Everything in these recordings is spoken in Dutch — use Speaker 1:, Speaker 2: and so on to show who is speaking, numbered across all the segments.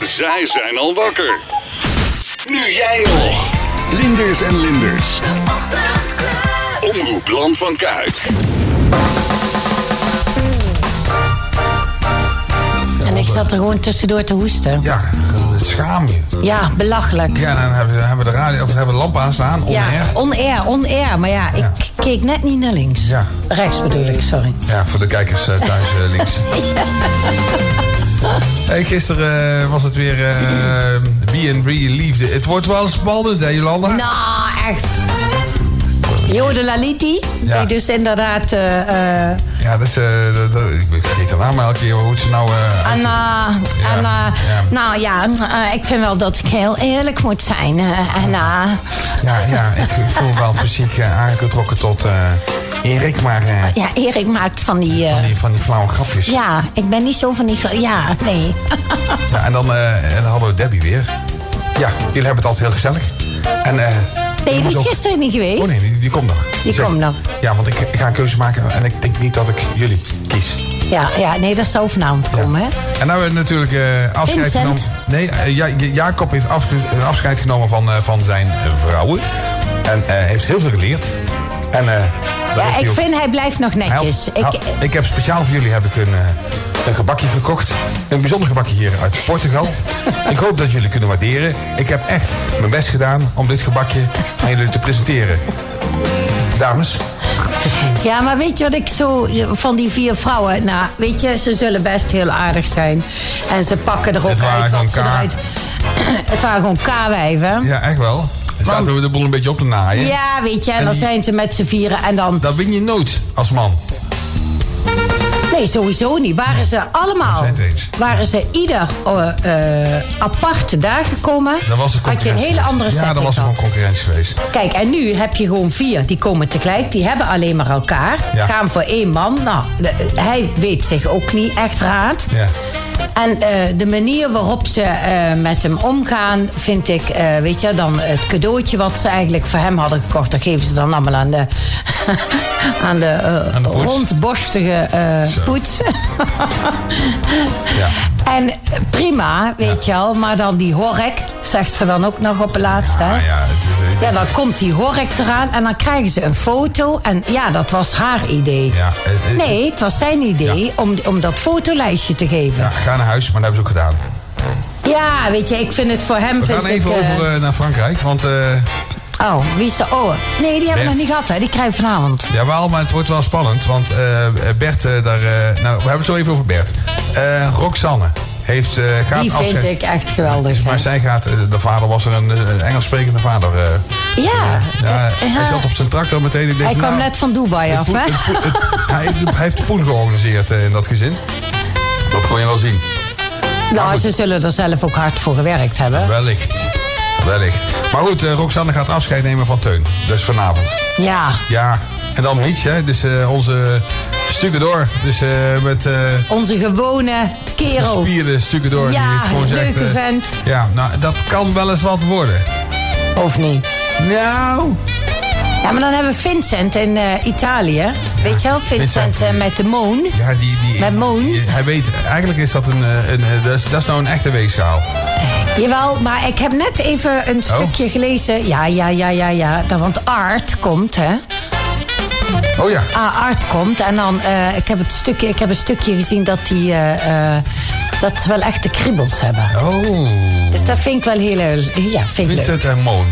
Speaker 1: Zij zijn al wakker. Nu jij nog. Linders en Linders. Omroep Land van Kuik.
Speaker 2: En ik zat er gewoon tussendoor te hoesten.
Speaker 3: Ja, schaam je.
Speaker 2: Ja, belachelijk.
Speaker 3: Ja, dan hebben we, hebben we de radio of hebben we de lamp aanstaan. On
Speaker 2: Ja,
Speaker 3: air.
Speaker 2: on air, on air. Maar ja, ik keek net niet naar links.
Speaker 3: Ja.
Speaker 2: Rechts bedoel ik, sorry.
Speaker 3: Ja, voor de kijkers eh, thuis eh, links. Hey, gisteren eh, was het weer eh, B&B Liefde. Het wordt wel eens spannend, hè Jolanda?
Speaker 2: Nou, echt. Jode Laliti,
Speaker 3: Ja.
Speaker 2: die dus inderdaad eh, eh,
Speaker 3: Ja, dat is... eh, dat- dat- ik vergeet de naam elke keer. Hoe het ze nou... eh,
Speaker 2: Anna, Anna, nou ja, eh, ik vind wel dat ik heel eerlijk moet zijn, eh, Anna.
Speaker 3: ja, ja, ik voel wel fysiek eh, aangetrokken tot eh, Erik, maar eh,
Speaker 2: Ja, Erik maakt van die, eh,
Speaker 3: van, die, van die flauwe grapjes.
Speaker 2: ja, ik ben niet zo van die, gro- ja, nee.
Speaker 3: Ja, en dan, eh, en dan hadden we Debbie weer. Ja, jullie hebben het altijd heel gezellig. En, eh
Speaker 2: Nee,
Speaker 3: je moet
Speaker 2: die is
Speaker 3: ook-
Speaker 2: gisteren niet geweest.
Speaker 3: Oh nee, die, die komt nog.
Speaker 2: Die
Speaker 3: Zeg-
Speaker 2: komt nog.
Speaker 3: Ja, want ik, ik ga een keuze maken en ik denk niet dat ik jullie kies.
Speaker 2: Ja, ja, nee, dat zou vanavond komen, hè.
Speaker 3: En nou hebben we natuurlijk eh, afscheid
Speaker 2: Vincent.
Speaker 3: genomen. Nee, eh, Ja- Ja- Jacob heeft afge- afscheid genomen van, eh, van zijn eh, vrouwen. En eh, heeft heel veel geleerd. En, eh, daar heeft
Speaker 2: Ja,
Speaker 3: hij
Speaker 2: ik
Speaker 3: ook-
Speaker 2: vind hij blijft nog
Speaker 3: hij had-
Speaker 2: netjes.
Speaker 3: hij had-
Speaker 2: Ik,
Speaker 3: ik heb speciaal voor jullie heb ik een, eh, een gebakje gekocht. Een bijzonder gebakje hier uit Portugal. ik hoop dat jullie kunnen waarderen. Ik heb echt mijn best gedaan om dit gebakje aan jullie te presenteren. Dames,
Speaker 2: Ja, maar weet je wat ik zo van die vier vrouwen. Nou, weet je, ze zullen best heel aardig zijn. En ze pakken er ook
Speaker 3: Het waren
Speaker 2: uit
Speaker 3: gewoon
Speaker 2: wat ze
Speaker 3: K.
Speaker 2: eruit. Het waren gewoon K-wijven. Ja.
Speaker 3: ja echt wel. Zaten we de boel een beetje op te naaien.
Speaker 2: weet je, en,
Speaker 3: En
Speaker 2: dan
Speaker 3: die-
Speaker 2: zijn ze met z'n vieren. En dan.
Speaker 3: Dat win je nooit als man.
Speaker 2: Nee, sowieso niet. Waren ze allemaal.
Speaker 3: zijn het eens.
Speaker 2: Waren ze ieder eh, eh, apart daar gekomen.
Speaker 3: Dan was er
Speaker 2: had je een
Speaker 3: concurrentie
Speaker 2: hele
Speaker 3: geweest.
Speaker 2: andere
Speaker 3: Ja,
Speaker 2: setting
Speaker 3: dan was er
Speaker 2: gehad.
Speaker 3: gewoon concurrentie geweest.
Speaker 2: Kijk, en nu heb je gewoon vier. Die komen tegelijk. Die hebben alleen maar elkaar.
Speaker 3: Ja.
Speaker 2: Gaan voor één man. Nou, de- hij weet zich ook niet echt raad.
Speaker 3: Ja.
Speaker 2: En eh, de manier waarop ze eh, met hem omgaan, vind ik, eh, weet je, dan het cadeautje wat ze eigenlijk voor hem hadden gekocht, dat geven ze dan allemaal aan de, aan de, eh,
Speaker 3: Aan de poets.
Speaker 2: rondborstige eh,
Speaker 3: Zo.
Speaker 2: poets.
Speaker 3: Ja.
Speaker 2: en eh, prima, weet je wel, maar dan die hork, zegt ze dan ook nog op het laatste. hè?
Speaker 3: Ah, ja, het- het- het-
Speaker 2: Ja, dan komt die hork eraan en dan krijgen ze een foto. En ja, dat was haar idee.
Speaker 3: Ja, eh, eh,
Speaker 2: Nee, het was zijn idee om, om dat fotolijstje te geven.
Speaker 3: ja,
Speaker 2: Ja.
Speaker 3: ga naar huis, maar dat hebben ze ook gedaan.
Speaker 2: weet je, ik vind het voor hem...
Speaker 3: We
Speaker 2: vind
Speaker 3: gaan even
Speaker 2: ik, eh,
Speaker 3: over eh, naar Frankrijk, want eh,
Speaker 2: Oh, wie is de... Oh, nee, die hebben we
Speaker 3: Bert.
Speaker 2: nog niet gehad, hè. Die krijgen we vanavond.
Speaker 3: Jawel, maar het wordt wel spannend. Want eh, Bert, eh, daar, eh, nou, we hebben het zo even over Bert. Eh, Roxanne heeft, eh, gaat
Speaker 2: Die vind
Speaker 3: afscheid-
Speaker 2: ik echt geweldig. hè.
Speaker 3: Maar zij gaat, eh, de vader was er een, eh, een Engels sprekende vader. eh.
Speaker 2: Ja.
Speaker 3: ja,
Speaker 2: eh,
Speaker 3: Hij
Speaker 2: ja.
Speaker 3: zat op zijn tractor meteen. Ik denk,
Speaker 2: Hij kwam
Speaker 3: nou,
Speaker 2: net van Dubai
Speaker 3: het
Speaker 2: af,
Speaker 3: poen-
Speaker 2: hè.
Speaker 3: het poen- het- hij, heeft, hij heeft de poen georganiseerd eh, in dat gezin. Dat kon je wel zien.
Speaker 2: Nou, ze zullen er zelf ook hard voor gewerkt hebben.
Speaker 3: Wellicht. Wellicht. Maar goed, eh, Roxanne gaat afscheid nemen van Teun. Dus vanavond.
Speaker 2: Ja,
Speaker 3: Ja, en dan niets, hè. Dus eh, onze stukken door. Dus eh, met... eh,
Speaker 2: onze gewone kerel.
Speaker 3: gespierde stukken door. die
Speaker 2: Ja,
Speaker 3: het gewoon zegt,
Speaker 2: leuke
Speaker 3: eh,
Speaker 2: vent.
Speaker 3: Ja, nou, dat kan wel eens wat worden.
Speaker 2: Of niet?
Speaker 3: Nou.
Speaker 2: Ja, maar dan hebben we Vincent in eh, Italië. Weet je wel, Vincent,
Speaker 3: Vincent,
Speaker 2: eh, met de moon.
Speaker 3: Ja, die... die
Speaker 2: Met Moon.
Speaker 3: die- Hij weet, eigenlijk is dat een... eh, een eh, dat, is, dat is nou een echte weegschaal.
Speaker 2: Jawel, maar ik heb net even
Speaker 3: Oh.
Speaker 2: een stukje gelezen. Ja, ja, ja, ja, ja. Dan- Want Art komt, hè.
Speaker 3: Oh ja.
Speaker 2: Ah, Art komt. En dan, eh, ik, heb het stukje, ik heb een stukje gezien dat die... eh, eh, dat ze wel echt de kriebels hebben.
Speaker 3: Oh.
Speaker 2: Dus dat vind ik wel heel... eh, Ja, vind ik leuk.
Speaker 3: Vincent en Moon.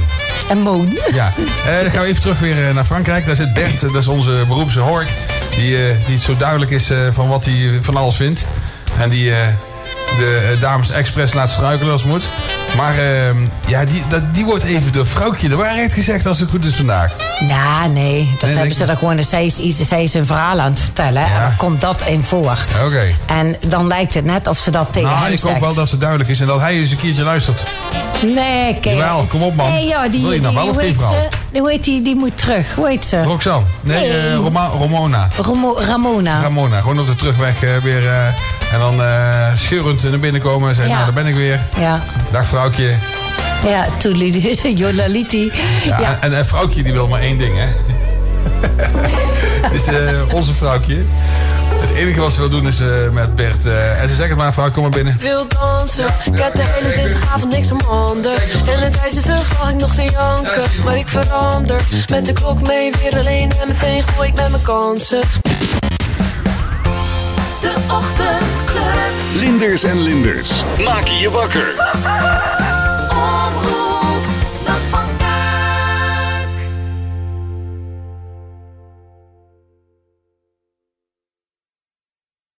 Speaker 2: En Moon.
Speaker 3: Ja. Eh, dan gaan we even terug weer eh, naar Frankrijk. Daar zit Bert, eh, dat is onze beroemde hork. Die, eh, die het zo duidelijk is eh, van wat hij van alles vindt. En die... eh, de eh, dames expres laat struikelen als het moet. Maar ehm, ja, die, dat, die wordt even door vrouwtje de waarheid gezegd als het goed is vandaag.
Speaker 2: Ja, nee. Dat
Speaker 3: denk
Speaker 2: hebben ze
Speaker 3: ik-
Speaker 2: er gewoon... Zij is, iets- zij is een verhaal aan het vertellen. En dan komt dat in voor.
Speaker 3: Oké.
Speaker 2: En dan lijkt het net of ze dat tegen
Speaker 3: Nou,
Speaker 2: hem
Speaker 3: ik
Speaker 2: zegt.
Speaker 3: hoop wel dat ze duidelijk is en dat hij eens een keertje luistert.
Speaker 2: Nee, kijk.
Speaker 3: Jawel, kom op, man.
Speaker 2: Nee, ja, die,
Speaker 3: Wil je nou
Speaker 2: die,
Speaker 3: wel of
Speaker 2: hoe
Speaker 3: geen
Speaker 2: heet
Speaker 3: vrouw?
Speaker 2: ze? Die- Hoe heet die? Die moet terug. Hoe heet ze?
Speaker 3: Roxanne. Nee,
Speaker 2: Nee.
Speaker 3: eh, Roma- Romona.
Speaker 2: Romo- Ramona.
Speaker 3: Ramona. Gewoon op de terugweg eh, weer. eh, en dan eh scheurend naar binnen komen en zeggen,
Speaker 2: Ja.
Speaker 3: nou, daar ben ik weer.
Speaker 2: ja.
Speaker 3: Dag vrouwtje.
Speaker 2: Ja, Tulli- Jolaliti.
Speaker 3: Ja,
Speaker 2: Ja, ja.
Speaker 3: En, en vrouwtje die wil maar één ding, hè. dus eh, onze vrouwtje. Het enige wat ze wil doen is eh, met Bert. eh, en ze zegt het maar, vrouw, kom maar binnen.
Speaker 4: wil dansen. Ik had de hele dinsdagavond niks om handen. En het ijs is te lag ik nog te janken. Maar ik verander met de klok mee, weer alleen en meteen gooi ik met mijn kansen.
Speaker 1: Linders en Linders. Maak je wakker.